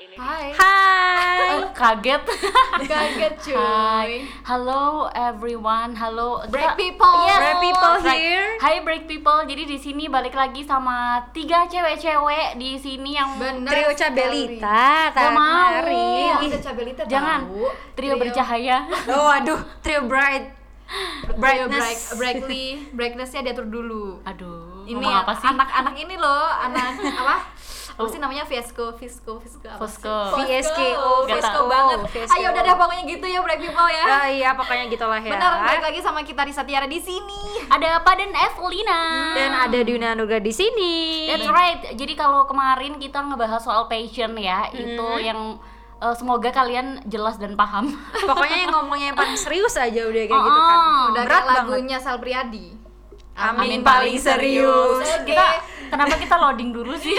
ini Hai. Eh, Hai. kaget. Kaget cuy. Hai. Hello everyone. Halo Break kita- people. Yes. Break Oh, people here. Hai break people. Jadi di sini balik lagi sama tiga cewek-cewek di sini yang Benar. Trio sekali. Cabelita, Gak mau. Iya, Tarik kita cabelita jangan tahu. trio bercahaya. Oh, aduh, Trio Bright. Trio Brightness. break, brightly, brightnessnya diatur dulu. Aduh. Ini ngomong apa sih? anak-anak ini loh, anak apa? Apa sih namanya Fiasco, Fisco, Fisco apa? sih? Fosco. VSKO, Gak tahu. Fiasco banget. Fiasco. Ayo udah deh pokoknya gitu ya break people ya. Ah, iya, pokoknya gitulah ya. Benar, balik lagi sama kita Risa Tiara di sini. Ada Paden Evelina. Dan ada Dina Nuga di sini. That's right. Jadi kalau kemarin kita ngebahas soal passion ya, itu Mm-hmm. yang eh, semoga kalian jelas dan paham. Pokoknya yang ngomongnya yang paling serius aja udah kayak gitu kan. Oh, Udah Berat kayak banget. lagunya Sal Priadi. Amin paling serius. Oke. Kita kenapa kita loading dulu sih?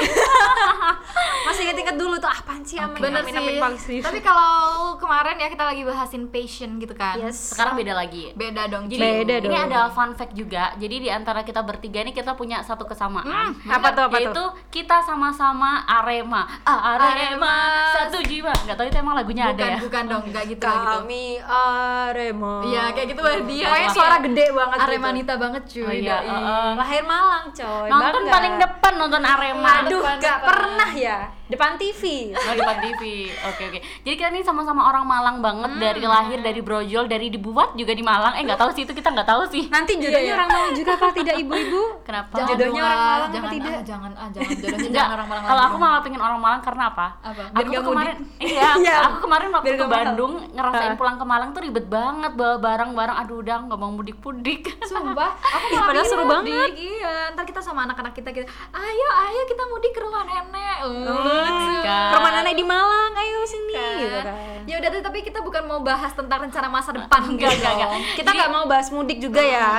Masih inget-inget dulu tuh apaan sih amin, Bener amin, sih. amin paling serius. Tapi kalau kemarin ya kita lagi bahasin passion gitu kan. Yes. Sekarang beda lagi. Beda dong. Ji. Jadi Beda ini dong. ada fun fact juga. Jadi di antara kita bertiga ini kita punya satu Hmm, kesamaan. apa tuh, apa tuh? Yaitu kita sama-sama Arema. Ah, Arema. Arema. Satu jiwa. Enggak tahu itu emang lagunya bukan, ada ya. bukan dong, enggak gitu enggak gitu. Kami Arema. Iya, kayak gitu lah dia. Pokoknya Dia suara gede banget gitu. Aremanita banget cuy. Oh iya, doi. heeh. Lahir Malang, coy. Nonton Bangga. paling depan nonton Arema. Aduh, depan, gak depan. pernah ya. Depan TV. Oh, depan TV. Oke oke. Jadi kita ini sama-sama orang Malang banget Hmm. dari lahir dari Brojol dari dibuat juga di Malang. Eh nggak tahu sih itu kita nggak tahu sih. Nanti jodohnya orang Malang juga apa tidak ibu-ibu? Kenapa? Jangan Jodohnya dong, orang ah, Malang apa jangan, tidak? Ah, jangan ah, jangan jodohnya Enggak. jangan orang Malang. Kalau lagi aku dong. malah pengen orang Malang karena apa? Apa? Aku Biar nggak tuh mudik. kemarin iya, Iya. aku kemarin waktu Biar ke nggak mahal. Bandung ngerasain Ah. pulang ke Malang tuh ribet banget bawa barang-barang. Aduh udah nggak mau mudik-mudik. sumpah, aku Ih, malah padahal seru bilang, banget. "Dik, Iya, ntar kita sama anak-anak kita gitu. Ayo, ayo kita mudik ke rumah nenek. Oh, my God. Rumah nenek Gitu. di Malang, ayo sini Kan? gitu kan. Ya udah tapi kita bukan mau bahas tentang rencana masa depan Enggak, gitu enggak, enggak. dong. Kita nggak mau bahas mudik juga ya.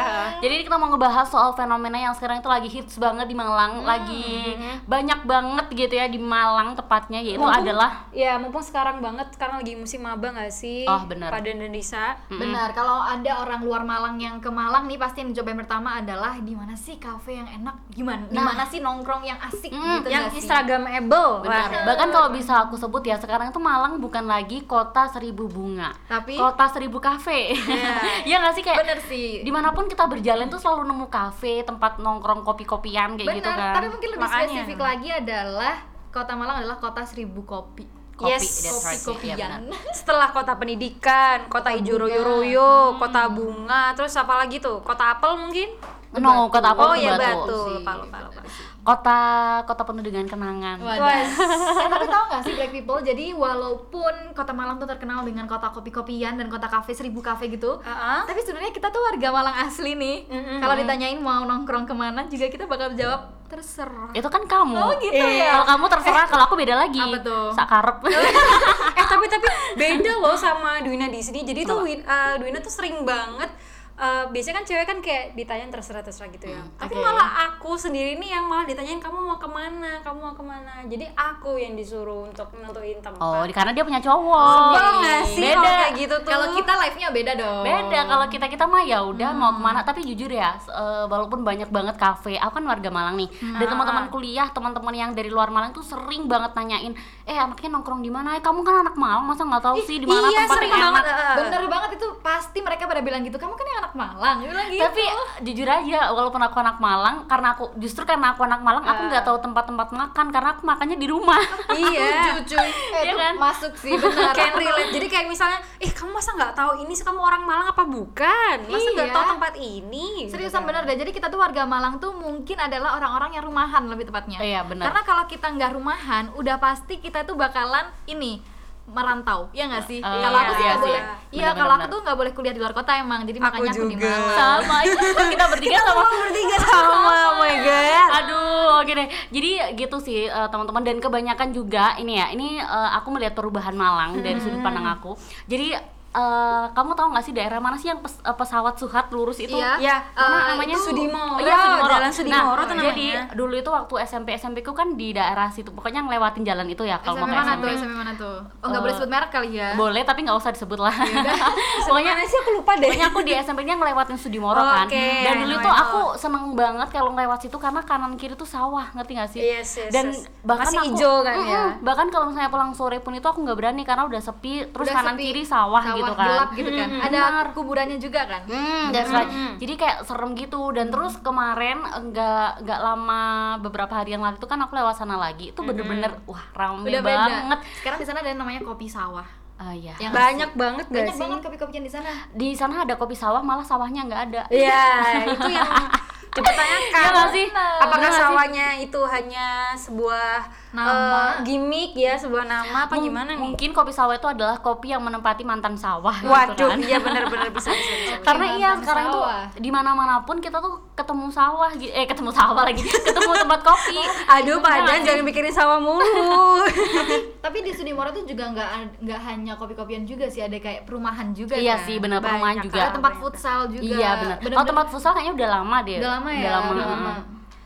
Jadi kita mau ngebahas soal fenomena yang sekarang itu lagi hits banget di Malang, lagi Hmm. banyak banget gitu ya di Malang tepatnya yaitu Mumpung- adalah Ya, mumpung sekarang banget, sekarang lagi musim maba nggak sih? Oh, bener. Pada Indonesia. Benar, kalau ada orang luar Malang yang ke Malang nih pasti yang dicoba yang pertama adalah di mana sih kafe yang enak, gimana, di mana sih nongkrong Nah. yang asik Mm, gitu yang nggak sih? Instagramable. Benar. Wah. Bahkan kalau bisa aku sebut ya sekarang itu Malang bukan lagi kota seribu bunga, Tapi- kota seribu kafe. Iya nggak sih kayak Bener sih. dimanapun kita berjalan tuh selalu nemu kafe, tempat nongkrong kopi-kopian kayak Benar, gitu kan. tapi mungkin lebih Makanya. spesifik lagi adalah Kota Malang adalah kota seribu kopi. kopi, Yes, that's right. Iya, benar. Kopi-kopian. Setelah kota pendidikan, kota ijo royo royo, kota bunga, terus apa lagi tuh? Kota apel mungkin? No, kota apa? oh tuh ya Batu. batu. Sih, Lupa, lupa, lupa. Kota kota penuh dengan kenangan. Wadah. eh, tapi tau gak sih Black People? Jadi walaupun Kota Malang tuh terkenal dengan kota kopi-kopian dan kota kafe seribu kafe gitu, Ah, ah. tapi sebenarnya kita tuh warga Malang asli nih. Mm-mm. Kalau ditanyain mau nongkrong kemana, juga kita bakal jawab terserah. Itu kan kamu. Oh gitu Kalau ya. kamu terserah, kalau aku beda lagi. apa tuh? Sakarep. eh tapi tapi beda loh sama Duina di sini jadi tuh Win- eh, Duina tuh sering banget eh, biasanya kan cewek kan kayak ditanyain terserah terserah gitu Hmm, ya tapi oke. malah aku sendiri nih yang malah ditanyain kamu mau kemana kamu mau kemana jadi aku yang disuruh untuk nentuin tempat oh, karena dia punya cowok. Sebel nggak sih beda. kalau kayak gitu tuh Oh, iya. Kalau kita live-nya beda dong. beda kalau kita kita mah ya udah mau kemana tapi jujur ya se- eh, walaupun banyak banget kafe aku kan warga Malang nih dan teman-teman kuliah teman-teman yang dari luar Malang tuh sering banget nanyain eh anaknya nongkrong di mana eh kamu kan anak Malang masa nggak tahu sih di mana iya tempat sering yang enak banget eh, eh. Bener banget itu pasti mereka pada bilang gitu. Kamu kan yang anak Malang. Dia bilang gitu. tapi jujur aja walaupun aku anak Malang karena aku justru karena aku anak Malang aku nggak tahu tempat-tempat makan karena aku makannya di rumah iya Jujur, eh, Iya itu kan? masuk sih benar. Can relate. Jadi kayak misalnya, eh kamu masa nggak tahu ini sih kamu orang Malang apa bukan? Masa nggak Iya. tahu tempat ini? Gitu kan. Seriusan bener deh, jadi kita tuh warga Malang tuh mungkin adalah orang-orang yang rumahan lebih tepatnya Iya, benar. Karena kalau kita nggak rumahan, udah pasti kita tuh bakalan ini merantau, ya nggak sih? Eh, kalau aku iya sih nggak sih. boleh, iya Benar, kalau aku benar. tuh nggak boleh kuliah di luar kota emang, jadi Aku makanya aku di juga. Malang sama kita bertiga sama bertiga sama, oh my god. Aduh, oke deh. Jadi gitu sih eh, teman-teman Hmm. dan kebanyakan juga ini ya. Ini eh, aku melihat perubahan Malang dari sudut pandang aku. Jadi eh, kamu tahu nggak sih daerah mana sih yang pes- eh, pesawat Suhat lurus itu? Iya. Ya, Mana eh, namanya? itu Sudimoro, Iya, Sudimoro. Jalan Sudimoro nah, tuh jadi namanya. dulu itu waktu SMP SMP ku kan di daerah situ. Pokoknya ngelewatin jalan itu ya kalau SMP mau ke mana SMP. tuh? SMP mana tuh? Oh, nggak boleh Eh, sebut merek kali ya? Boleh tapi nggak usah disebut lah. Ya Pokoknya pokoknya sih aku lupa deh. pokoknya aku di SMP-nya ngelewatin Sudimoro kan. Oh, Oke, Oh. Dan I dulu know, itu I know. aku seneng banget kalau ngelewat situ karena kanan kiri tuh sawah, ngerti gak sih? Yes, yes, Dan yes. bahkan Masih aku- hijau kan ya? Mm-mm, Bahkan kalau misalnya pulang sore pun itu aku nggak berani karena udah sepi, terus Udah kanan sepi. kiri sawah, gitu kan. gelap gitu kan. Ada kuburannya juga kan? Hmm, that's right. Jadi kayak serem gitu dan terus kemarin enggak enggak lama beberapa hari yang lalu itu kan aku lewat sana lagi. Itu bener-bener wah rame Udah beda. banget. Sekarang di sana ada yang namanya kopi sawah. Ah iya. Yang banyak banget gak banyak sih? banget kopi-kopian di sana. Di sana ada kopi sawah malah sawahnya nggak ada. Iya, itu yang dipertanyakan. Iya nggak sih? Iya Apakah nggak sih? sawahnya itu hanya sebuah Nama. eh, gimmick ya, sebuah nama apa Mung- gimana nih? Mungkin kopi sawah itu adalah kopi yang menempati mantan sawah gitu Waduh, kan. iya benar-benar bisa bisa. bisa. Karena Kayak iya mantan sekarang tuh sawah. di mana-mana pun kita tuh ketemu sawah gitu. Eh ketemu sawah lagi. ketemu tempat kopi. Aduh, Padan jangan mikirin sawah mulu. Tapi di Sudimoro tuh juga nggak ad- nggak hanya kopi-kopian juga sih, ada kayak perumahan juga Iya kan? sih benar Banyak perumahan kan. juga. Ada tempat futsal juga. Iya benar. Kalau tempat futsal kayaknya udah lama deh. udah lama ya. Udah lama. udah lama.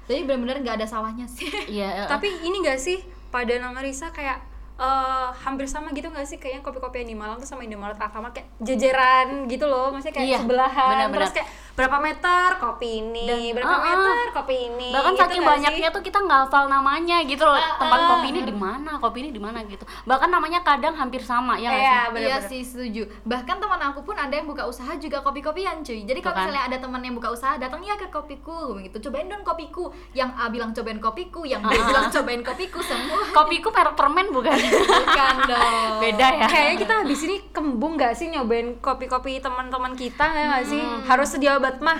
Jadi benar-benar nggak ada sawahnya sih. Iya. Tapi ini gak sih pada nama Risa kayak eh, hampir sama gitu gak sih kayaknya kopi-kopi yang di Malang tuh sama yang di Malang Utama kayak jejeran gitu loh maksudnya kayak Iya, sebelahan benar-benar. terus kayak berapa meter kopi ini berapa uh-uh. meter kopi ini bahkan gitu nggak saking sih? banyaknya tuh kita nggak hafal namanya gitu loh. Tempat kopi ini di mana? Kopi ini di mana gitu. Bahkan namanya kadang hampir sama ya Iya, nggak sih? Iya benar-benar. sih setuju. Bahkan teman aku pun ada yang buka usaha juga kopi-kopian cuy. Jadi kalau Tuh kan. misalnya ada teman yang buka usaha datang ya ke kopiku gitu. Cobain dong kopiku. Yang A bilang cobain kopiku, yang B bilang cobain kopiku semua. Kopiku merek permen bukan? Bukan dong. Beda ya. Kayaknya kita habis ini kembung gak sih nyobain kopi-kopi teman-teman kita ya gak sih? Hmm. Harus sedia obat mah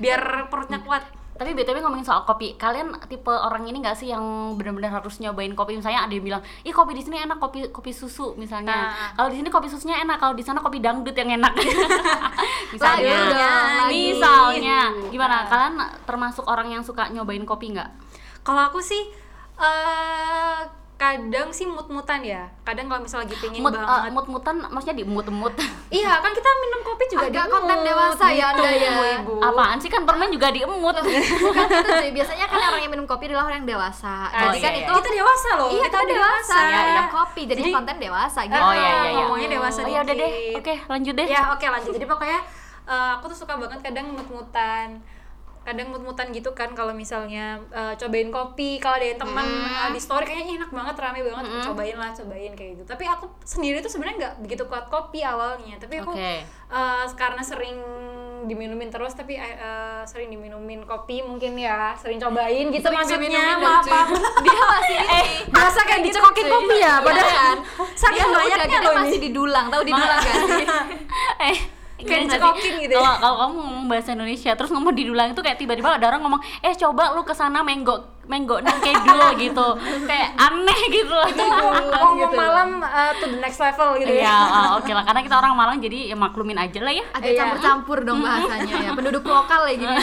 biar perutnya kuat. Tapi BTW ngomongin soal kopi, kalian tipe orang ini nggak sih yang benar-benar harus nyobain kopi? Misalnya ada yang bilang, "Ih, kopi di sini enak, kopi kopi susu misalnya." Nah. Kalau di sini kopi susunya enak, kalau di sana kopi dangdut yang enak. Lagi misalnya. dong, lagi. Misalnya, Nah. gimana? Kalian termasuk orang yang suka nyobain kopi nggak? Kalau aku sih eh kadang sih mut-mutan ya. Kadang kalau misalnya lagi pingin Mut, banget. mut mutan maksudnya di mut mut Iya, kan kita minum kopi juga Agak di konten mood, gitu. Iya, dewasa ya Anda ya. Ibu. apaan sih kan permen juga di emut Oh, Bukan gitu cuy. Biasanya kan orang yang minum kopi adalah orang yang dewasa. Ah, Jadi iya, kan iya. itu kita dewasa loh. Iya, kita kita dewasa. Ya, Ya, minum kopi jadi, konten dewasa gitu. Oh, iya, iya, iya. Ngomongnya dewasa oh ya udah deh dikit. oke lanjut deh Ya, oke lanjut. Jadi pokoknya eh, aku tuh suka banget kadang mut-mutan kadang mut-mutan gitu kan kalau misalnya eh, cobain kopi kalau ada yang teman eh, di story kayaknya "Ih, enak banget rame banget cobain lah cobain kayak gitu tapi aku sendiri tuh sebenarnya nggak begitu kuat kopi awalnya tapi aku Oke. eh, karena sering diminumin terus tapi eh, eh, sering diminumin kopi mungkin ya sering cobain gitu maksudnya maaf maaf Dia masih eh, berasa kayak dicekokin kopi Iya, ya padahal kan dia saking udah banyaknya gitu loh masih ini didulang, tahu didulang kan? eh Kayak gimana sih? dicekokin gitu ya. Kalau kalau kamu ngomong bahasa Indonesia terus ngomong didulang itu kayak tiba-tiba ada orang ngomong, "Eh, coba lu ke sana menggo menggo nang kedul," gitu. Kayak aneh gitu loh. ngomong malam eh, to the next level gitu Iya, ya oh, oke lah karena kita orang Malang jadi ya maklumin aja lah ya. Agak campur-campur dong bahasanya ya. Penduduk lokal ya gini.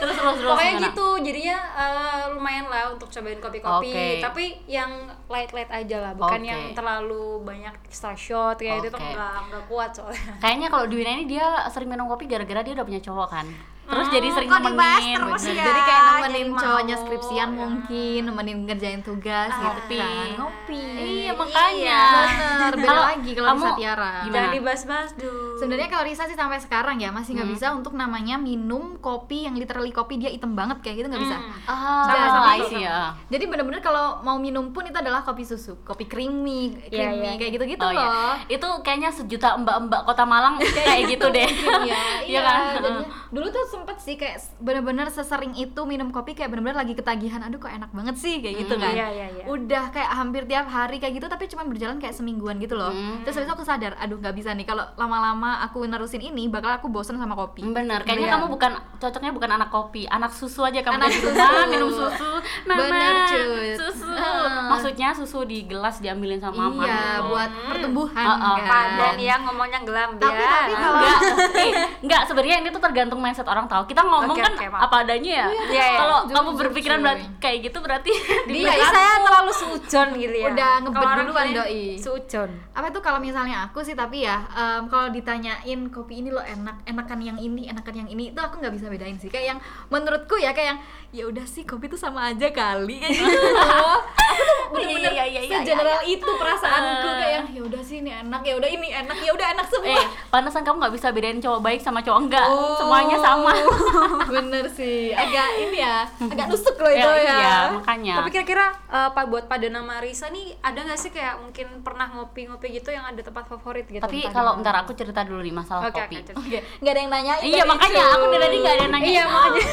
Terus terus terus. Nah, pokoknya gimana? gitu jadinya eh, lumayan lah untuk cobain kopi-kopi Oke. tapi yang light-light aja lah bukan Oke. yang terlalu banyak extra shot kayak gitu Oke. nggak nggak kuat soalnya Kayaknya kalau Duwina ini dia sering minum kopi gara-gara dia udah punya cowok kan. Terus jadi sering kok dibahas nemenin. terus bener. ya? Jadi kayak nemenin jadi mau. cowoknya skripsian mungkin, nemenin ngerjain tugas gitu Ngopi. kan. Ngopi. Iya, makanya. Bener, beda Kalau lagi kalau di kamu- Satiara. Gimana? jangan dibahas-bahas dulu Nah. Sebenarnya kalau Risa sih sampai sekarang ya masih nggak bisa untuk namanya minum kopi yang literally kopi dia item banget kayak gitu nggak bisa. Ah, Sama, sama, I see, ya. Jadi bener-bener kalau mau minum pun itu adalah kopi susu, kopi creamy, Iya, creamy iya. kayak gitu-gitu Oh, iya. loh. Itu kayaknya sejuta mbak-mbak kota Malang kayak gitu deh. Iya, iya kan? jadinya. Dulu tuh sempet sih kayak s- bener-bener sesering itu minum kopi kayak bener-bener lagi ketagihan. Aduh kok enak banget sih kayak gitu Hmm, kan. iya, iya, iya. Udah kayak hampir tiap hari kayak gitu tapi cuman berjalan kayak semingguan gitu loh. Terus habis itu aku sadar, aduh nggak bisa nih kalau lama-lama aku nerusin ini bakal aku bosen sama kopi. Bener, kayaknya Iya. kamu bukan cocoknya bukan anak kopi, anak susu aja kamu Anak dari rumah, susu. minum susu, mama, Bener, Cut. susu. Heeh. Maksudnya susu di gelas diambilin sama mama. Iya, gitu. buat pertumbuhan Oh, oh, kan. padan ya ngomongnya gelap Tapi ya. tapi kalau Enggak, eh, enggak sebenarnya ini tuh tergantung mindset orang tahu. Kita ngomong Oke, kan oke, maaf. apa adanya ya. Iya, iya, Kalau Jujur, kamu jujur, berpikiran cuy. berat kayak gitu berarti Di Berarti kan saya terlalu sujon gitu ya. Udah ngebet Kalau orang duluan, lain, doi. Sujon. apa itu kalau misalnya aku sih tapi ya em, kalau ditanyain kopi ini lo enak enakan yang ini enakan yang ini itu aku nggak bisa bedain sih kayak yang menurutku ya kayak yang ya udah sih kopi itu sama aja kali kayak gitu loh aku tuh bener-bener Iya, iya, Ah. iya, iya, segeneral itu perasaanku kayak yang ya udah sih ini enak ya udah ini enak ya udah enak semua eh pantesan kamu nggak bisa bedain cowok baik sama cowok enggak Oh. Eh, semuanya sama bener sih agak ini ya agak nusuk loh itu Ya, ya, iya, makanya Tapi kira-kira eh, pa- buat pada nama Risa nih ada nggak sih kayak mungkin pernah ngopi-ngopi gitu yang ada tempat favorit gitu? tapi Entah kalau di ntar mana. aku cerita dulu nih masalah Oke, kopi oke, cerita. Oke, nggak ada yang nanya iya makanya aku dari tadi nggak ada yang nanya Oh, Iya, makanya.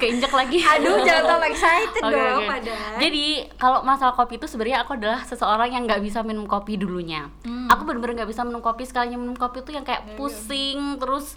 keinjek lagi Aduh, jangan terlalu excited Oke, dong oke. padahal. Jadi kalau masalah kopi itu sebenarnya aku adalah seseorang yang nggak bisa minum kopi dulunya. Hmm. Aku bener-bener nggak bisa minum kopi sekalinya minum kopi itu yang kayak pusing terus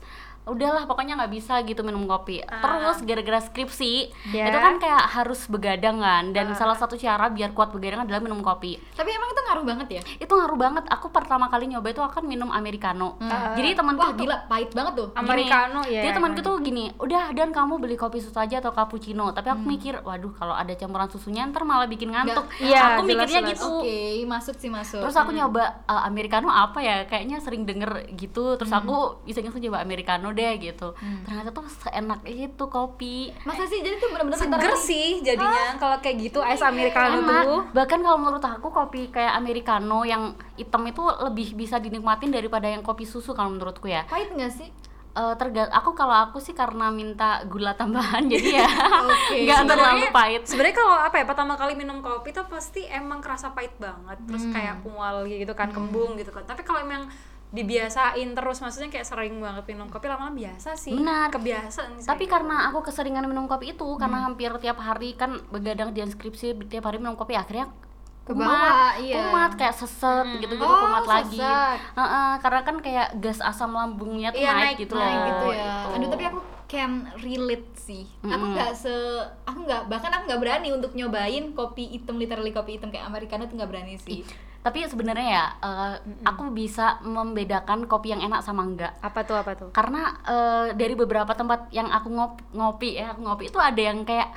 udahlah pokoknya nggak bisa gitu minum kopi. Terus gara-gara skripsi Ah. Ya. Ah. itu kan kayak harus begadang kan dan salah satu cara biar kuat begadang adalah minum kopi tapi emang itu ngaruh banget ya itu ngaruh banget aku pertama kali nyoba itu akan minum americano Hmm. jadi temanku wah tuh- gila pahit banget tuh Gini, Americano ya. Dia temanku tuh gini, udah dan kamu beli kopi susu aja atau cappuccino. Tapi Hmm. aku mikir, waduh kalau ada campuran susunya ntar malah bikin ngantuk. Nggak- iya, aku mikirnya jelas-jelas. gitu. Oke, masuk sih masuk. Terus Hmm. aku nyoba eh, americano apa ya? Kayaknya sering denger gitu. Terus Hmm. aku bisa aku nyoba americano deh gitu. Ternyata tuh seenak itu kopi. masa sih jadi tuh benar-benar seger sih Ah. jadinya kalau kayak gitu es americano Enak. tuh. Bahkan kalau menurut aku kopi kayak americano yang hitam itu lebih bisa dinikmatin daripada yang kopi susu kalau menurutku ya. Pahit nggak sih? Eh, terga- aku kalau aku sih karena minta gula tambahan jadi ya Oke. nggak terlalu Sebenarnya- pahit Sebenarnya kalau apa ya pertama kali minum kopi tuh pasti emang kerasa pahit banget, terus Hmm. kayak mual gitu kan, kembung gitu kan. Tapi kalau emang dibiasain terus maksudnya kayak sering banget minum kopi lama-lama biasa sih. Benar. Kebiasaan sih. tapi karena aku keseringan minum kopi Hmm. itu karena hampir tiap hari kan begadang di skripsi tiap hari minum kopi akhirnya Ke kumat, bawah, iya. kumat kayak seset gitu gitu Oh, kumat lagi seset. Heeh, karena kan kayak gas asam lambungnya tuh Iya, naik, naik- gitu naik loh, gitu ya. gitu. Aduh, tapi aku can relate sih. Aku Mm-mm. nggak se aku nggak bahkan aku nggak berani untuk nyobain kopi hitam literally kopi hitam kayak americano tuh nggak berani sih. tapi sebenarnya ya eh, Hmm. aku bisa membedakan kopi yang enak sama enggak apa tuh apa tuh? karena eh, dari beberapa tempat yang aku ngop- ngopi ya aku ngopi itu ada yang kayak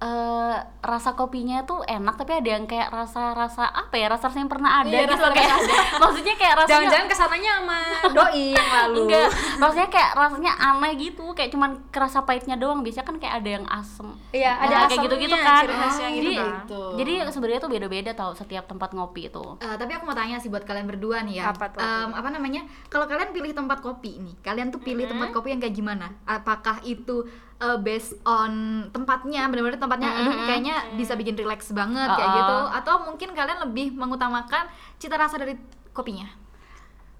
eh, rasa kopinya tuh enak tapi ada yang kayak rasa rasa apa ya rasa rasa yang pernah ada Iya, gitu rasa-rasa kayak maksudnya kayak rasanya Jangan-jangan kesananya sama doi yang lalu. enggak maksudnya kayak rasanya aneh gitu kayak cuman kerasa pahitnya doang biasanya kan kayak ada yang asem Iya, Nah, ada kayak asamnya, gitu gitu kan ciri khasnya Ah, gitu jadi kan. Gitu. jadi sebenarnya tuh beda beda tau setiap tempat ngopi itu Eh, tapi aku mau tanya sih buat kalian berdua nih ya. Apa tuh? Em, apa namanya? Kalau kalian pilih tempat kopi nih, kalian tuh pilih tempat kopi yang kayak gimana? Apakah itu eh, based on tempatnya, benar-benar tempatnya aduh kayaknya bisa bikin relax banget kayak Oh, oh. gitu atau mungkin kalian lebih mengutamakan cita rasa dari kopinya?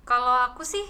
Kalau aku sih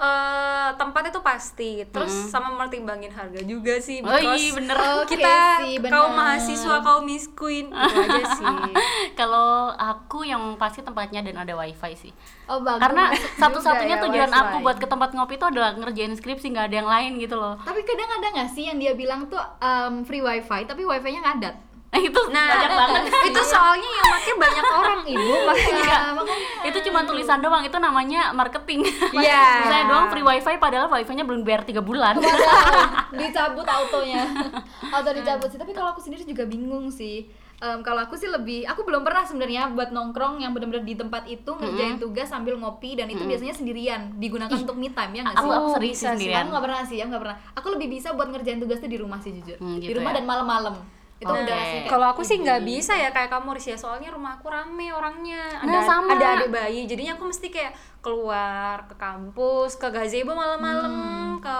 eh tempatnya tuh pasti, terus sama mempertimbangin harga juga sih, Oh, iya, because bener. Oke kita sih, bener. kaum mahasiswa kaum miss queen gitu aja sih. kalau aku yang pasti tempatnya dan ada wifi sih Oh, bagus. karena satu-satunya ya, tujuan wifi. aku buat ke tempat ngopi itu adalah ngerjain skripsi nggak ada yang lain gitu loh Tapi kadang ada nggak sih yang dia bilang tuh em, free wifi tapi wifi-nya ngadat? nah itu Nah, banyak banget itu soalnya yang pakai banyak orang ibu, Iya, makanya Enggak. makanya itu cuma tulisan doang itu namanya marketing Iya. Oh, saya doang free wifi padahal wifi-nya belum bayar tiga bulan Padahal dicabut autonya auto dicabut sih tapi kalau aku sendiri juga bingung sih Em, kalau aku sih lebih aku belum pernah sebenarnya buat nongkrong yang benar-benar di tempat itu ngerjain tugas sambil ngopi dan itu biasanya sendirian digunakan untuk me time ya aku nggak sih aku sering sih bisa sih. sendirian aku nggak pernah sih aku nggak pernah aku lebih bisa buat ngerjain tugasnya di rumah sih jujur Hmm, di gitu rumah ya. dan malam-malam itu Nah, udah rasanya kayak- Kalau aku sih Hmm. nggak bisa ya kayak kamu Risya, soalnya rumah aku rame orangnya. Ada, Nah, sama. ada adik bayi, jadinya aku mesti kayak keluar ke kampus, ke gazebo malam-malam, Hmm. ke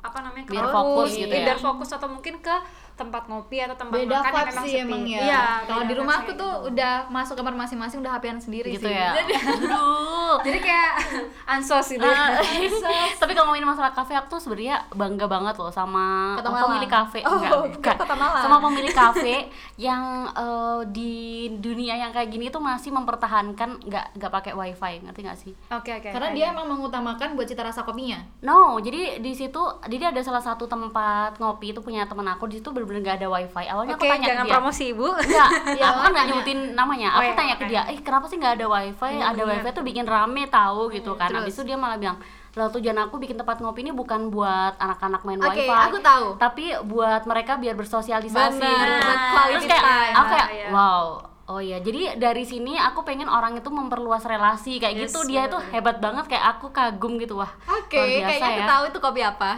apa namanya ke Biar kampus, fokus gitu ya. biar fokus atau mungkin ke tempat ngopi atau tempat beda makan yang vibe memang sih sepi. emang ya Iya, kalau beda di rumah vibes-nya aku tuh gitu. udah masuk kamar masing-masing udah hp sendiri gitu sih ya aduh jadi kayak ansos gitu. Ah, Nah, tapi kalau ngomongin masalah kafe aku tuh sebenarnya bangga banget loh sama Kota oh, Malang. pemilik kafe Oh, Enggak, kira bukan. Kota Malang. sama pemilik kafe yang eh, di dunia yang kayak gini tuh masih mempertahankan nggak nggak pakai wifi ngerti nggak sih Oke oke. karena dia emang mengutamakan buat cita rasa kopinya No, jadi di situ jadi ada salah satu tempat ngopi itu punya temen aku di situ bener-bener nggak ada wifi. Awalnya Oke, aku tanya jangan ke dia. promosi ibu. Enggak, Ya, aku kan nggak makanya. nyebutin namanya. Oh, Aku iya, tanya ke oke. dia, eh kenapa sih nggak ada wifi? ada wifi tuh bikin rame tahu gitu kan. Iya, Hmm, Habis terus? itu dia malah bilang, Lalu tujuan aku bikin tempat ngopi ini bukan buat anak-anak main wifi. Oke, aku tahu. Tapi buat mereka biar bersosialisasi. Nah, Benar, buat quality Terus kayak, time. Ah, Aku kayak, Iya. wow. Oh iya, jadi dari sini aku pengen orang itu memperluas relasi kayak Yes, gitu. Dia itu benar-benar. hebat banget kayak aku kagum gitu wah. Oke, luar biasa kayaknya aku ya. tahu itu kopi apa.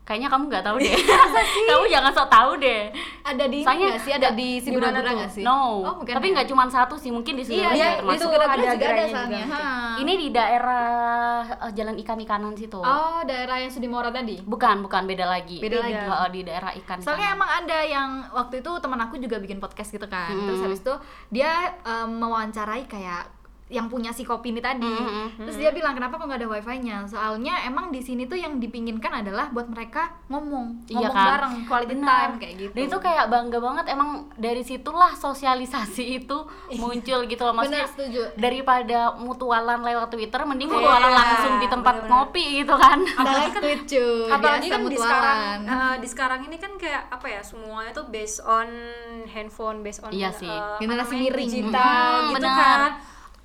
Kayaknya kamu nggak tahu deh. kamu jangan sok tahu deh. Ada di Soalnya Soalnya, sih? Ada di gimana Sibura-Bura tuh? nggak sih? No. Oh, bukan. Tapi ya? nggak cuma satu sih, mungkin di Iya, seluruh iya, juga termasuk. itu Sibura ada ada juga ada gerainya soalnya. juga. Ha. Ini di daerah eh, Jalan Ikan-ikanan situ. Oh, daerah yang Sudimoro tadi. Bukan, bukan beda lagi. Beda lagi. Heeh, di daerah ikan. Soalnya emang ada yang waktu itu teman aku juga bikin podcast gitu kan. Hmm. Terus habis itu dia em, mewawancarai kayak yang punya si kopi ini tadi. Mm-mm. Terus dia bilang kenapa kok nggak ada wifi-nya? Soalnya emang di sini tuh yang dipinginkan adalah buat mereka ngomong, Iya ngomong kan? bareng, quality time kayak gitu. Dan itu kayak bangga banget emang dari situlah sosialisasi itu muncul gitu loh maksudnya. Iya. Benar, setuju. Daripada mutualan lewat Twitter mending Iya, mutualan langsung di tempat bener-bener. ngopi gitu kan. Apalagi kan lucu, apalagi biasa kan di mutualan. sekarang eh, di sekarang ini kan kayak apa ya semuanya tuh based on handphone based on Iya sih. eh, apa Generasi namanya, miring. digital Mhm, gitu benar. kan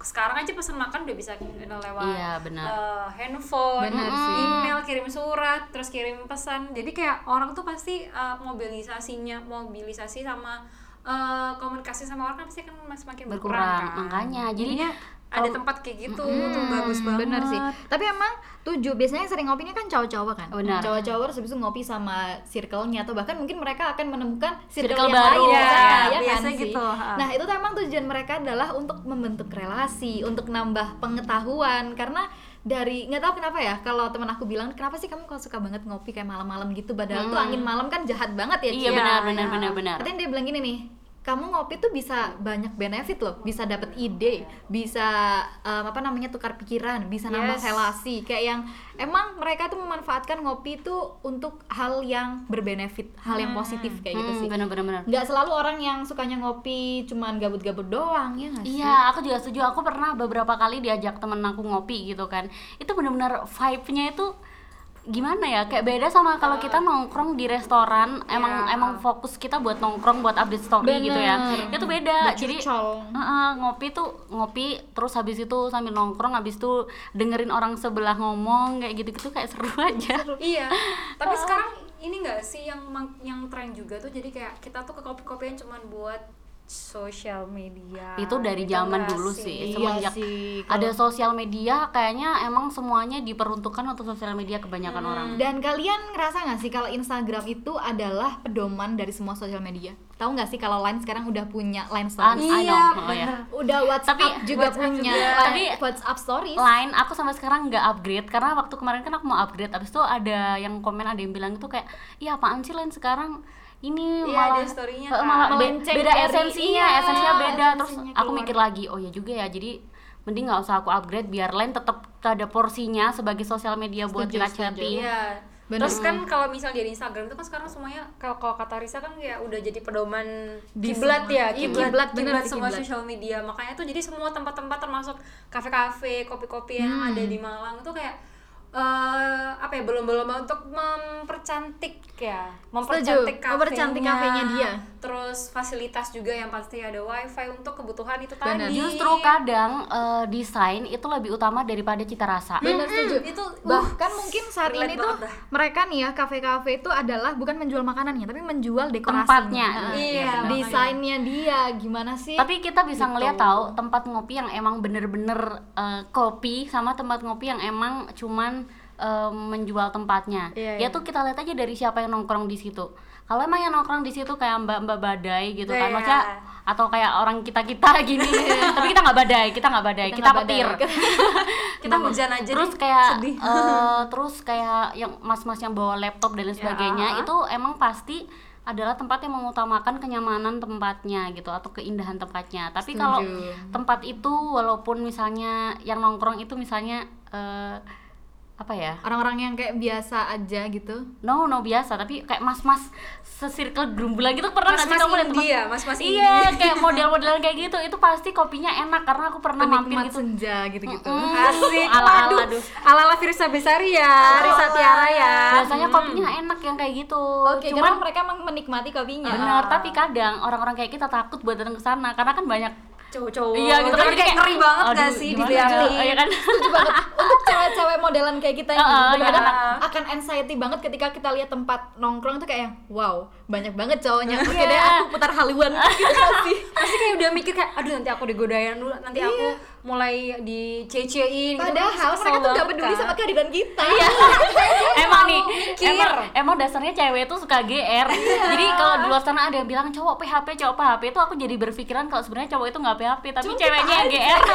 sekarang aja pesan makan udah bisa lewat Iya, benar. eh, handphone Benar sih. email kirim surat terus kirim pesan jadi kayak orang tuh pasti eh, mobilisasinya mobilisasi sama eh, komunikasi sama orang kan pasti kan semakin berkurang, Berkurang. kan. Makanya, jadi Jadinya ada tempat kayak gitu tuh bagus banget Bener sih. Tapi emang tujuh biasanya yang sering ngopinya kan cowok-cowok kan. Benar. Cowok-cowok terus habis itu ngopi sama circle-nya atau bahkan mungkin mereka akan menemukan circle, Circle yang baru. Iya, lain misalnya, ya kan biasanya sih? gitu, ha. Nah, itu tuh emang tujuan mereka adalah untuk membentuk relasi, untuk nambah pengetahuan karena dari nggak tahu kenapa ya kalau teman aku bilang kenapa sih kamu kalau suka banget ngopi kayak malam-malam gitu padahal tuh angin malam kan jahat banget ya Hmm. Iya Ci. benar Iya, benar iya. benar benar. Katanya dia bilang gini nih, kamu ngopi tuh bisa banyak benefit loh, bisa dapet ide, bisa um, apa namanya tukar pikiran, bisa nambah Yes. relasi. Kayak yang emang mereka tuh memanfaatkan ngopi itu untuk hal yang berbenefit, hal yang positif kayak gitu Hmm, sih. benar benar benar. Nggak selalu orang yang sukanya ngopi cuman gabut-gabut doang ya nggak sih? Iya, aku juga setuju. Aku pernah beberapa kali diajak temen aku ngopi gitu kan. Itu benar-benar vibe-nya itu gimana ya? Kayak beda sama kalau kita Eh. nongkrong di restoran, Iya. emang emang fokus kita buat nongkrong, buat update story gitu ya. Bener. Itu beda. Jadi Bercocol. Heeh, ngopi tuh ngopi terus habis itu sambil nongkrong habis itu dengerin orang sebelah ngomong kayak gitu-gitu kayak seru aja. iya tapi Oh. sekarang ini enggak sih yang mang- yang tren juga tuh jadi kayak kita tuh ke kopi-kopian cuman buat sosial media Itu dari Gitu zaman nggak dulu sih. Iya Semenjak sih, kalau- ada sosial media kayaknya emang semuanya diperuntukkan untuk sosial media kebanyakan orang. Hmm. Dan kalian ngerasa nggak sih kalau Instagram itu adalah pedoman dari semua sosial media? Tahu nggak sih kalau Line sekarang udah punya Line Ah, Story? I Iya, know. Oh, ya. bener. udah WhatsApp Tapi- juga WhatsApp punya juga. Line- Tapi- WhatsApp Stories. Line aku sampai sekarang nggak upgrade karena waktu kemarin kan aku mau upgrade abis itu ada yang komen ada yang bilang itu kayak iya apaan sih Line sekarang ini Iya, malah ada story-nya, eh, kan. malah be- Melenceng beda dari- esensinya iya, esensinya beda terus esensinya aku keluar. mikir lagi oh ya juga ya jadi mending nggak usah aku upgrade biar Line tetap ada porsinya sebagai sosial media buat Setuju, kita setuju. chatting Iya. gitu. Bener. Terus kan kalau misalnya di Instagram itu kan sekarang semuanya kalau kalau kata Risa kan kayak udah jadi pedoman Di kiblat semua- ya, iya, kiblat, kiblat, kiblat, bener sih, semua kiblat. sosial media. Makanya tuh jadi semua tempat-tempat termasuk kafe-kafe, kopi-kopi yang Hmm. ada di Malang tuh kayak eh apa ya belum-belum untuk mempercantik ya, mempercantik Setuju, mempercantik kafenya dia. Terus fasilitas juga yang pasti ada wifi untuk kebutuhan itu Bener. kan, tadi. justru kadang eh, desain itu lebih utama daripada cita rasa Bener setuju. Hmm, itu, Bahkan mungkin saat relate ini tuh banget dah. mereka nih ya kafe-kafe itu adalah bukan menjual makanannya tapi menjual dekorasinya. Tempatnya. Nah, Iya, bener. Desainnya dia gimana sih? Gitu. tapi kita bisa ngeliat tahu tempat ngopi yang emang bener-bener eh, kopi sama tempat ngopi yang emang cuman eh, menjual tempatnya Iya, ya tuh kita lihat aja dari siapa yang nongkrong di situ kalau emang yang nongkrong di situ kayak mbak-mbak badai gitu Iya. kan maksudnya atau kayak orang kita kita gini tapi kita nggak badai kita nggak badai Kita kita, nggak badai. petir uh, kita nah, hujan aja terus deh. kayak Nah, sedih. eh, terus kayak yang mas-mas yang bawa laptop dan Ya. lain sebagainya itu emang pasti adalah tempat yang mengutamakan kenyamanan tempatnya gitu atau keindahan tempatnya tapi kalau Setuju. tempat itu walaupun misalnya yang nongkrong itu misalnya eh, apa ya Orang-orang yang kayak biasa aja gitu. no no biasa tapi kayak mas-mas sesirkel gerumbulan gitu pernah nggak sih Mas-mas kamu lihat tempat- India, mas-mas iya kayak model-modelan kayak gitu itu pasti kopinya enak karena aku pernah mampir Penikmat gitu senja gitu-gitu. Mm-mm. Asik. Ala-ala, Aduh. aduh. Ala-ala Firsa Besari ya, Risa Tiara ya. biasanya kopinya enak yang kayak gitu Oke, cuman karena mereka emang menikmati kopinya. Benar, tapi kadang orang-orang kayak kita takut buat datang ke sana karena kan banyak cowok-cowok Iya, Oh, Tapi gitu kan, jadi kayak kayak, ngeri banget aduh, gak sih gimana dilihatin tuh? Iya kan? Setuju banget. Untuk Oh, cewek-cewek modelan kayak kita ini Heeh, iya benar-benar kan? akan anxiety banget ketika kita lihat tempat nongkrong tuh kayak yang wow, banyak banget cowoknya. Oke Iya. deh, aku putar haluan gitu gak sih. pasti kayak udah mikir kayak aduh nanti aku digodain dulu nanti aku mulai gitu. dicecein Padahal mereka tuh gak peduli kan. sama kehadiran kita. Iya. emang nih mikir. emang emang dasarnya cewek tuh suka gr Iya. jadi kalau di luar sana ada yang bilang cowok php cowok php itu aku jadi berpikiran kalau sebenarnya cowok itu nggak php tapi ceweknya yang gr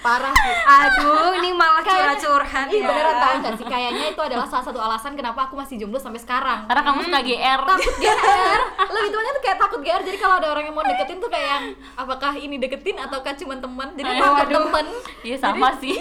Parah sih. aduh ini malah ya. curhat Ih, beneran tau gak sih? Kayaknya itu adalah salah satu alasan kenapa aku masih jomblo sampai sekarang. karena kamu suka gr takut GR lebih tuanya tuh kayak takut GR jadi kalau ada orang yang mau deketin tuh kayak yang apakah ini deketin ataukah cuma teman jadi Aduh, takut aduh. temen iya sama sih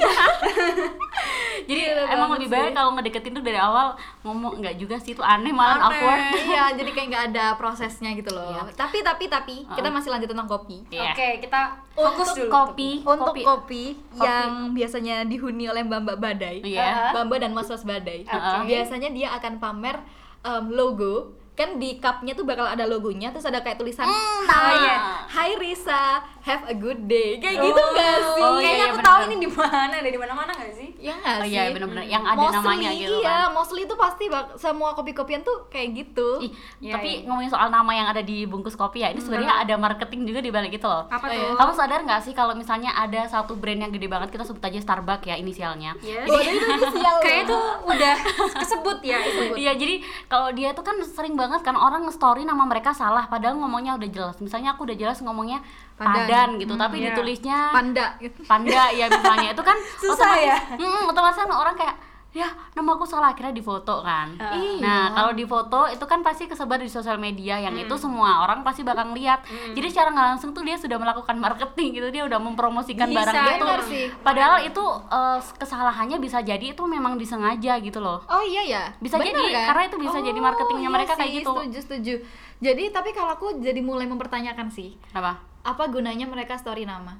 jadi Gila emang banget lebih sih. baik kalau ngedeketin tuh dari awal ngomong nggak juga sih itu aneh malah Aneh. awkward iya jadi kayak nggak ada prosesnya gitu loh tapi tapi tapi Ah. kita masih lanjut tentang kopi Iya. oke kita fokus dulu kopi untuk kopi, kopi yang biasanya dihuni oleh mbak-mbak badai Iya. mbak-mbak dan mas-mas badai Oke. biasanya dia akan pamer em, logo kan di cupnya tuh bakal ada logonya terus ada kayak tulisan ah. Hai, Hai Risa, have a good day kayak gitu gak sih? Oh, iya, kayaknya iya, aku tahu bener. ini di mana ada di mana-mana gak sih Ya nggak Oh sih? iya benar-benar yang ada Mostly, namanya gitu iya, kan. mostly itu pasti bak- semua kopi-kopian tuh kayak gitu. Ih, Iya, tapi iya. ngomongin soal nama yang ada di bungkus kopi ya, ini sebenarnya ada marketing juga di balik itu loh. apa Oh, tuh iya. Kamu sadar nggak sih kalau misalnya ada satu brand yang gede banget kita sebut aja Starbucks ya inisialnya. Yes. Waduh itu inisial loh. Kayaknya tuh udah kesebut ya disebut. Iya jadi kalau dia tuh kan sering banget kan orang nge-story nama mereka salah padahal ngomongnya udah jelas. Misalnya aku udah jelas ngomongnya Pandan. Padan, gitu, tapi iya. ditulisnya panda. Panda ya misalnya itu kan Susah ya? otomatis- Mm, otomatis kan orang kayak ya nama aku salah akhirnya difoto kan. Iya. Nah, kalau di foto itu kan pasti kesebar di sosial media yang itu semua orang pasti bakal lihat. Jadi secara nggak langsung tuh dia sudah melakukan marketing gitu, dia udah mempromosikan Bisa, barang itu. benar sih. Padahal itu eh, kesalahannya bisa jadi itu memang disengaja gitu loh. Oh iya ya. Bisa Bener jadi, kan? karena itu bisa jadi marketingnya iya mereka kayak sih, gitu. Setuju, setuju. Jadi tapi kalau aku jadi mulai mempertanyakan sih, Apa? apa gunanya mereka story nama?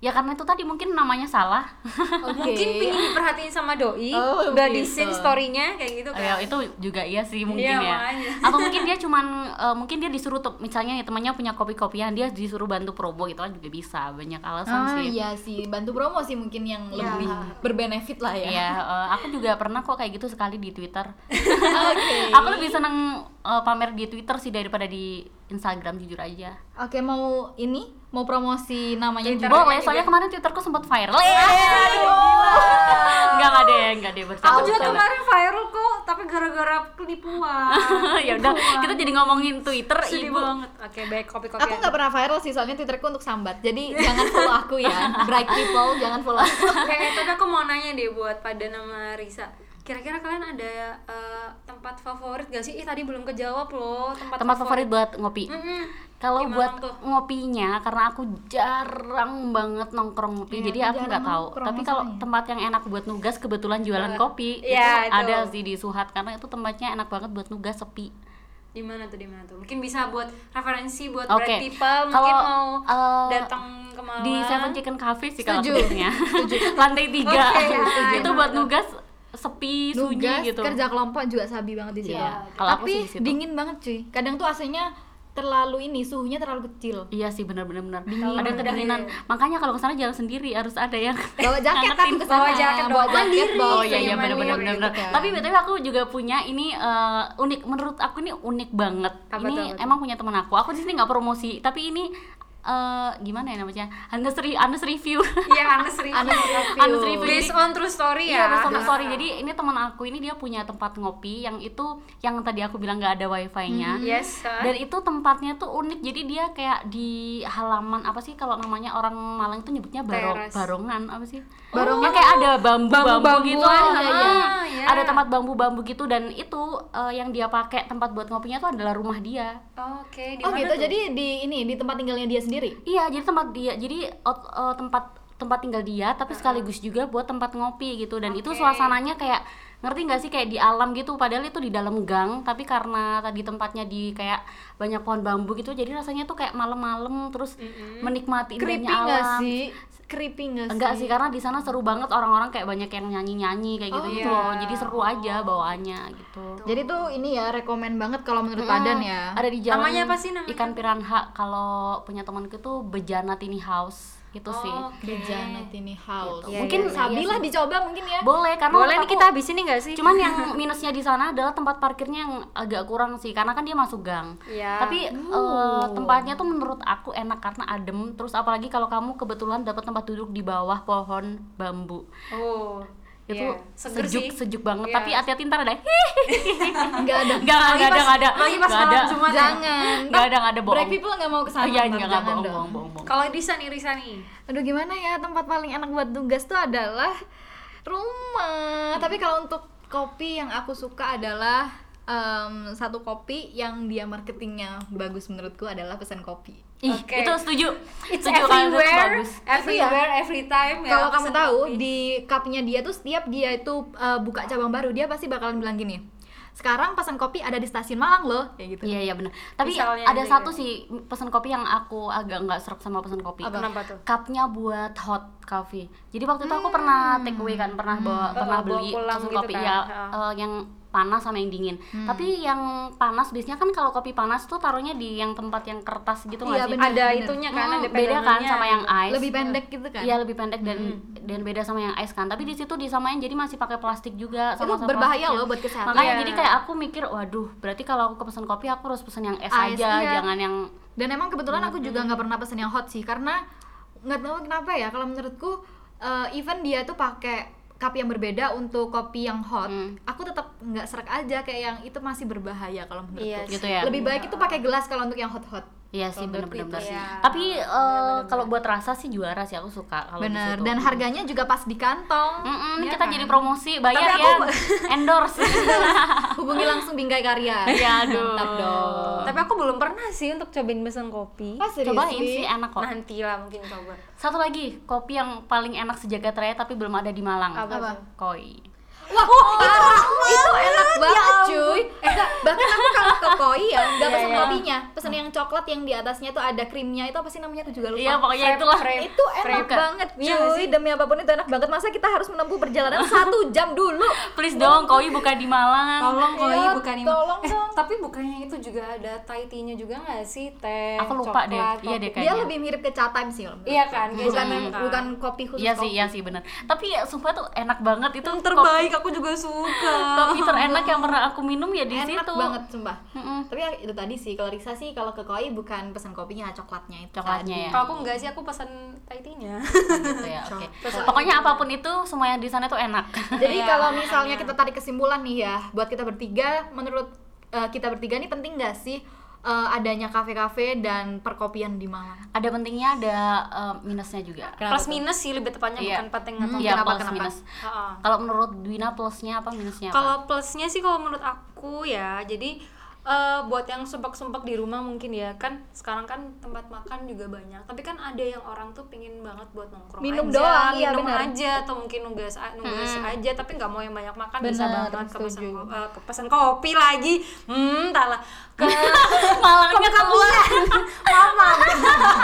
Ya karena itu tadi mungkin namanya salah. Oke. Oh, Mungkin pingin diperhatiin sama doi, Oh, udah gitu. disin story-nya kayak gitu kan. Ya, itu juga iya sih mungkin Iya, ya. makanya. Atau mungkin dia cuman eh, mungkin dia disuruh tuh misalnya nih, temannya punya kopi-kopian dia disuruh bantu promo gitu kan juga bisa. Banyak alasan Ah, sih. iya sih, bantu promo sih mungkin yang Iya. lebih berbenefit lah ya. Iya, eh, aku juga pernah kok kayak gitu sekali di Twitter. Oke. aku lebih seneng eh, pamer di Twitter sih daripada di Instagram jujur aja. Oke, mau ini mau promosi namanya Twitter. juga. Boleh, soalnya kemarin Twitterku sempat viral. Enggak enggak deh, enggak deh bercanda. Aku juga bercanda. kemarin viral kok, tapi gara-gara penipuan. ya udah, kita jadi ngomongin Twitter Sedih ibu. banget. Oke, baik kopi-kopi. Aku nggak pernah viral sih, soalnya Twitterku untuk sambat. Jadi jangan follow aku ya, bright people jangan follow. aku. Oke, tapi aku mau nanya deh buat pada nama Risa. Kira-kira kalian ada eh, tempat favorit gak sih? Ih, tadi belum kejawab loh, tempat, Tempat favorit buat ngopi. Mm-mm. Kalau Gimana buat tuh? ngopinya, karena aku jarang banget nongkrong ngopi, Iya, jadi aku aku jarang nggak tahu. nongkrong, Tapi kalau masalahnya. tempat yang enak buat nugas, kebetulan jualan Jualan. kopi Iya, itu ada itu. sih di Suhat, karena itu tempatnya enak banget buat nugas sepi. Di mana tuh, di mana tuh? Mungkin bisa buat referensi buat Oke. brand people, mungkin Kalau, mau eh, datang ke Malang. Di Seven Chicken Cafe sih kalau Setuju. tempatnya, lantai tiga. Oke, ya, itu ya, buat mantap. nugas sepi, sunyi Nugas, gitu. kerja kelompok juga sabi banget di situ. Iya, kalau aku sih Tapi di situ. dingin banget cuy. Kadang tuh AC-nya terlalu ini, suhunya terlalu kecil. Iya sih benar-benar benar. Ada kedinginan. Makanya kalau kesana jalan sendiri harus ada yang Bawa jaket kan Ngangetin. ke sana. Bawa jaket bawa dong. jaket, Mandiri. bawa Oh iya iya jaket, Mandiri. benar-benar gitu benar. kan. Tapi btw aku juga punya ini eh, unik menurut aku ini unik banget. Apa ini tuh, apa tuh? emang punya teman aku. Aku di sini nggak promosi, tapi ini eh, gimana ya namanya? Honest, re- honest review. Iya, Anes Risa. Honest Honest review. review. Based on true story Iya, ya. harus sama sorry. Jadi ini teman aku ini dia punya tempat ngopi yang itu yang tadi aku bilang nggak ada Mm-hmm. wifi-nya. Yes. ha? Dan itu tempatnya tuh unik. Jadi dia kayak di halaman apa sih kalau namanya orang Malang itu nyebutnya barong, Teras. barongan apa sih? Barongan. Yang kayak ada bambu-bambu Bambu-bambuan, gitu. ah, iya, iya. ah. Iya. Ada tempat bambu-bambu gitu dan itu eh, yang dia pakai tempat buat ngopinya tuh adalah rumah dia. Oke, di Oh mana gitu, tuh? jadi di ini di tempat tinggalnya dia sendiri. Iya, jadi tempat dia jadi ot- eh, tempat tempat tinggal dia tapi sekaligus juga buat tempat ngopi gitu dan itu Oke. suasananya kayak ngerti nggak sih kayak di alam gitu padahal itu di dalam gang tapi karena tadi tempatnya di kayak banyak pohon bambu gitu jadi rasanya tuh kayak malam-malam terus menikmati Creepy indahnya nggak alam sih? creepy nggak sih? Enggak sih karena di sana seru banget orang-orang kayak banyak yang nyanyi-nyanyi kayak Oh, gitu gitu iya. loh. Jadi seru aja bawaannya gitu. Jadi tuh ini ya rekomen banget kalau menurut Mm-mm. Padan ya. Ada di jalan. Namanya apa sih namanya? Ikan piranha kalau punya temanku tuh Bejana Tini House gitu sih. Oh, Bejana Tini House. Gitu. Mungkin Iya, iya, Sabi iya lah dicoba mungkin ya. Boleh karena Boleh menurut nih aku- kita habisin nih nggak sih? Cuman yang minusnya di sana adalah tempat parkirnya yang agak kurang sih, karena kan dia masuk gang. Iya. Tapi eh, tempatnya tuh menurut aku enak karena adem. Terus apalagi kalau kamu kebetulan dapat tempat duduk di bawah pohon bambu, oh itu iya. Seger sejuk sih. sejuk banget. Iya. Tapi hati-hati ntar ada. Enggak ada. Enggak ada enggak ada. lagi pas Nggak malam ada. Jumat. Jangan. Nggak ada, nggak ada, bohong. Black people nggak mau Oh kesana. iya, Bang, enggak enggak jangan bohong dong. bohong bohong bohong. Kalau Risani, Risani. Aduh gimana ya tempat paling enak buat tugas tuh adalah rumah. Tapi kalau untuk kopi yang aku suka adalah em, satu kopi yang dia marketingnya bagus menurutku adalah pesan kopi. Ih, Oke. itu setuju. It's Setuju kalau itu everywhere, bagus. everywhere, every time. ya, Kalau kamu pesen tahu kopi. di cupnya dia tuh setiap dia itu eh, buka cabang baru dia pasti bakalan bilang gini. Sekarang pesan kopi ada di stasiun Malang loh, kayak gitu. Iya iya benar. Tapi Misalnya ada gitu satu ya. sih pesan kopi yang aku agak nggak serap sama pesan kopi. Apa? kenapa tuh? cupnya buat hot coffee. Jadi waktu itu aku pernah take away kan, pernah Oh, bawa, pernah bawa beli pulang susu gitu kopi kan? ya, Ha. eh, yang panas sama yang dingin. Tapi yang panas biasanya kan kalau kopi panas tuh taruhnya di yang tempat yang kertas gitu nggak Iya, sih? bener. Ada itunya kan, Hmm, ada beda kan pegangannya. sama yang ice. Lebih pendek gitu kan. Iya lebih pendek dan dan beda sama yang ice kan. Tapi di situ disamain jadi masih pakai plastik juga Itu sama berbahaya loh buat kesehatan. Makanya Iya. jadi kayak aku mikir, waduh, berarti kalau aku pesan kopi aku harus pesan yang es Ice, aja, iya. jangan yang Dan emang kebetulan aku juga nggak pernah pesen yang hot sih karena nggak tahu kenapa ya kalau menurutku eh, even dia tuh pakai cup yang berbeda untuk kopi yang hot, Hmm. aku tetap nggak serak aja kayak yang itu masih berbahaya kalau Iya menurutku. sih. gitu ya. Lebih baik itu pakai gelas kalau untuk yang hot-hot. Iya sih Kalau menurutku benar-benar itu sih. ya. Tapi eh, Benar-benar. kalau buat rasa sih juara sih aku suka kalau di situ. Bener. Mm. Dan harganya juga pas di kantong. Mm-mm, Iya kita kan? jadi promosi bayar Tapi ya. aku- Endorse. hubungi langsung Bingkai Karya. Iya, aduh. Mantap dong. Tapi aku belum pernah sih untuk cobain pesan kopi. Pas Cobain sih enak kok. Nanti lah mungkin coba. Satu lagi kopi yang paling enak sejagat raya tapi belum ada di Malang. Apa? Apa? Koi. Wah, parah. itu enak banget, cuy. Eh, Enggak, bahkan aku kalau ke koi ya, enggak Iya, pesen iya. kopinya, pesen yang coklat yang di atasnya tuh ada krimnya itu apa sih namanya aku juga lupa. Iya pokoknya itulah. frame. itu enak Frappe. banget, Iya nggak cuy. sih? Demi apapun itu enak banget. Masa kita harus menempuh perjalanan satu jam dulu? Please dong koi buka di Malang. Tolong koi Iya, bukan ini. tolong eh, dong. tapi bukannya itu juga ada Thai tea-nya juga nggak sih? Teh, Aku lupa coklat, deh. Iya kopi. deh, Dia Kayaknya. lebih mirip ke chat time sih. kalau menurut Iya aku. kan, kayak bukan chat time kan. bukan kopi khusus Iya sih kopi. iya sih benar. Tapi ya, sumpah tuh enak banget itu. Yang kopi- terbaik aku juga suka. Kopi terenak yang pernah aku minum ya di enak situ. banget sumpah. Mm-mm. Tapi ya itu tadi sih kalau Risa sih kalau ke koi bukan pesan kopinya, coklatnya itu. Coklatnya tadi. ya. Kalau aku nggak sih aku pesan Thai tea-nya. gitu ya. oke. Pokoknya apapun itu semua yang di sana tuh enak. Iya, Jadi kalau misalnya kita tarik kesimpulan nih ya, buat kita bertiga, menurut eh, kita bertiga nih penting nggak sih eh, adanya kafe-kafe dan perkopian di Malang? ada pentingnya ada eh, minusnya juga. Kenapa Plus tuh? Hmm. minus sih lebih tepatnya Iya. bukan penting atau Iya kenapa, plus kenapa? minus. Heeh. Kalau menurut Dwina plusnya apa Iya, minusnya? apa? Kalau plusnya sih kalau menurut aku ya, jadi eh, buat yang sumpek-sumpek di rumah mungkin ya kan sekarang kan tempat makan juga banyak, tapi kan ada yang orang tuh pingin banget buat nongkrong Minum aja, doang, iya minum benar. Hmm. aja atau mungkin nugas a- nugas aja, tapi nggak mau yang banyak makan bisa Benar, banget ke pesan, setuju. ko- eh, ke pesan kopi lagi, hmm, entahlah ke Malangnya keluar. mama. Iya.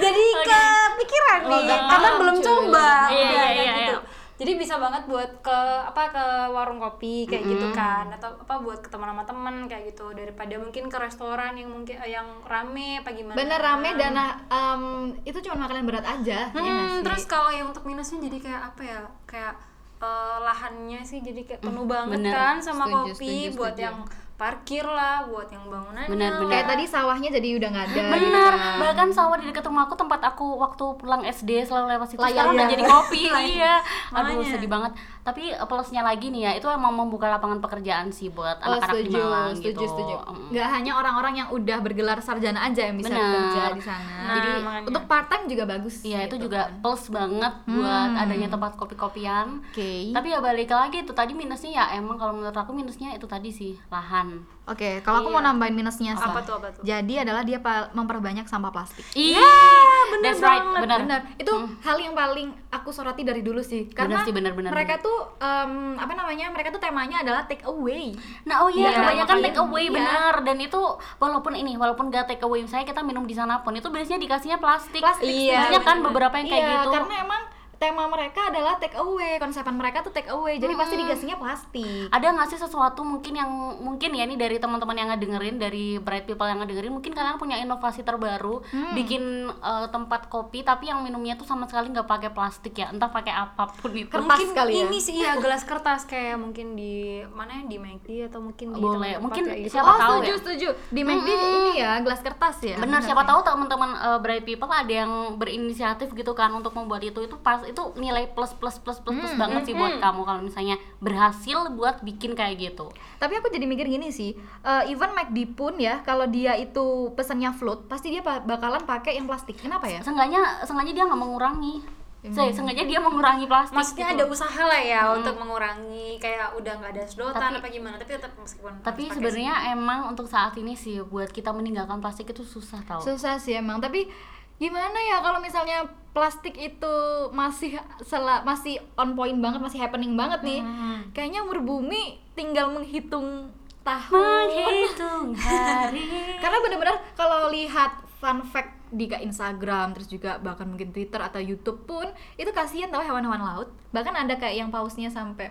jadi kepikiran Oh, nih, nggak karena paham, belum cuy. coba, udah Iya, iya, kayak iya, gitu. iya. Jadi bisa banget buat ke apa ke warung kopi kayak gitu kan, atau apa buat ke teman sama teman kayak gitu daripada mungkin ke restoran yang mungkin eh, yang rame apa gimana. Bener rame dan em, itu cuma makanan berat aja. ya nggak Hmm, sih? terus kalau yang untuk minusnya jadi kayak apa ya? Kayak eh, lahannya sih jadi kayak penuh banget bener. kan sama Mm, Setuju, kopi setuju, buat setuju. yang parkir lah, buat yang bangunannya. Bener, lah. bener. kayak tadi sawahnya jadi udah nggak ada. gitu Bener, kan. bahkan sawah di dekat rumahku tempat aku waktu pulang SD selalu lewat situ Layar, sekarang udah iya. jadi kopi iya. Aduh Makanya. sedih banget. Tapi eh, plusnya lagi nih ya, itu emang membuka lapangan pekerjaan sih buat Oh, anak-anak di setuju, Malang setuju, gitu. setuju. Mm. Nggak hanya orang-orang yang udah bergelar sarjana aja yang bisa Bener. kerja di sana. Nah, Jadi makanya. untuk part time juga bagus. Iya itu gitu juga kan. plus banget buat adanya tempat kopi-kopian. Oke. Tapi ya balik lagi itu tadi minusnya ya emang kalau menurut aku minusnya itu tadi sih lahan. Oke, kalau aku mau Iya. nambahin minusnya Apa Sa. tuh, apa tuh? Jadi adalah dia pa- memperbanyak sampah plastik. Iya, bener that's right, banget, benar. benar itu hal yang paling aku soroti dari dulu sih karena sih, Mm. benar, benar, mereka tuh tuh em, apa namanya? Mereka tuh temanya adalah take away. Nah, oh iya, Iya, kebanyakan makanya- take away iya. benar dan itu walaupun ini walaupun gak take away misalnya kita minum di sana pun itu biasanya dikasihnya plastik. Plastik, Iya, sebenarnya. kan beberapa yang kayak iya, gitu. karena emang tema mereka adalah take away, konsepan mereka tuh take away. Jadi pasti dikasihnya plastik. ada nggak sih sesuatu mungkin yang mungkin ya ini dari teman-teman yang ngedengerin dari bright people yang ngedengerin mungkin kalian punya inovasi terbaru Hmm. bikin eh, tempat kopi tapi yang minumnya tuh sama sekali nggak pakai plastik ya entah pakai apapun itu Kertas Kan mungkin kali ya? ini sih ya gelas kertas kayak mungkin di mana ya, di McD atau mungkin di Boleh. tempat-tempat Mungkin kayak gitu. siapa oh, tahu setuju, ya? setuju. Di McD ini ya gelas kertas ya. benar siapa tahu teman-teman eh, bright people ada yang berinisiatif gitu kan untuk membuat itu itu pas itu nilai plus plus plus plus Hmm, plus banget sih buat kamu kalau misalnya berhasil buat bikin kayak gitu Tapi aku jadi mikir gini sih, eh, even McD pun ya kalau dia itu pesennya float, pasti dia pa- bakalan pakai yang plastik. Kenapa Iya. ya? senggaknya sengaja dia nggak mengurangi saya sengaja dia mengurangi plastik maksudnya ada gitu. usaha lah ya untuk mengurangi kayak udah nggak ada sedotan Tapi- apa gimana tapi tetap meskipun tapi harus pakai sebenarnya emang untuk saat ini sih buat kita meninggalkan plastik itu susah tau Susah sih emang, tapi gimana ya kalau misalnya plastik itu masih sela, masih on point banget, masih happening banget nih. hmm, Kayaknya umur bumi tinggal menghitung tahun. menghitung hari Karena bener-bener kalau lihat fun fact di ke Instagram terus juga bahkan mungkin Twitter atau YouTube pun itu kasihan tau hewan-hewan laut bahkan ada kayak yang pausnya sampai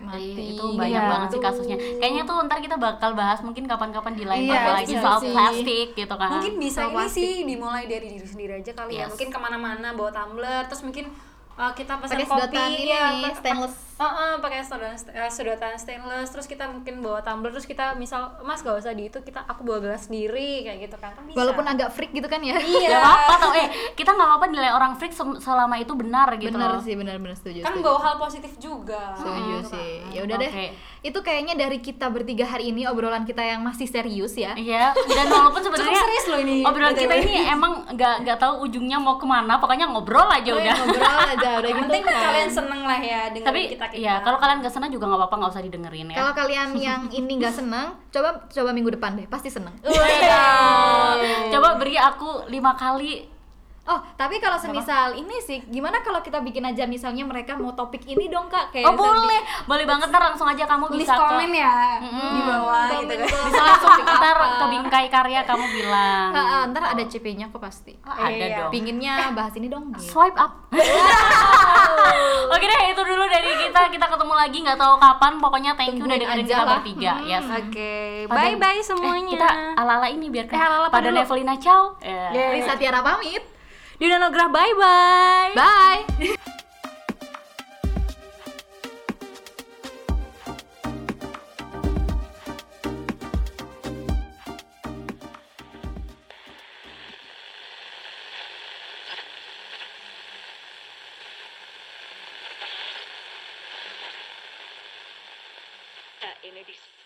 Iya, mati itu banyak gitu. banget sih kasusnya kayaknya tuh ntar kita bakal bahas mungkin kapan-kapan di lain Iya, podcast lagi bisa soal sih. plastik gitu kan mungkin bisa ini Plastik. sih dimulai dari diri sendiri aja kali ya Yes. mungkin kemana-mana bawa tumbler terus mungkin uh, kita pesan Pakai kopi iya, sedotan ini nih, pa- pa- stainless. Uh-uh, pakai sedotan eh, sedotan stainless terus kita mungkin bawa tumbler terus kita misal mas gak usah di itu kita aku bawa gelas sendiri kayak gitu kan Kan bisa. walaupun agak freak gitu kan ya Iya. Gak apa-apa tau eh kita nggak apa-apa nilai orang freak sem- selama itu benar gitu benar loh. sih benar-benar setuju kan setuju. bawa hal positif juga Iya Setuju Gitu sih. kan. Ya udah deh. Oke. Itu kayaknya dari kita bertiga hari ini obrolan kita yang masih serius ya. Iya, dan walaupun sebenarnya Cukup serius loh ini, Obrolan kita BTW. ini ya. emang nggak nggak tahu ujungnya mau kemana, pokoknya ngobrol aja Weh, udah. Ngobrol aja udah yang gitu. penting kan. kalian seneng lah ya dengan Tapi kita kita ya kalau kalian nggak senang juga nggak apa-apa, nggak usah didengerin ya. Kalau kalian yang ini nggak seneng, coba coba minggu depan deh, pasti seneng. Iya. Coba beri aku lima kali. Oh, tapi kalau semisal ini sih, gimana kalau kita bikin aja misalnya mereka mau topik ini dong kak, kayak Oh boleh, boleh banget ntar langsung aja kamu tulis bisa komen ke ya di bawah gitu kan bisa langsung ntar ke bingkai karya kamu bilang. Ha, ha, ntar ada CP-nya kok pasti. Oh, ada Iya. dong. Pinginnya bahas ini dong. gitu. Swipe up. Oke deh, itu dulu dari kita. Kita ketemu lagi nggak tahu kapan. Pokoknya thank you udah Tungguin dengerin aja kita lah. bertiga. Yes. oke Pada- bye bye Eh, semuanya kita ala-ala ini biar Eh, ala-ala pada dulu. Iya, levelina ciao. Eh. Risa Tiara pamit. Dinograh bye bye Bye. Tak, ini dis-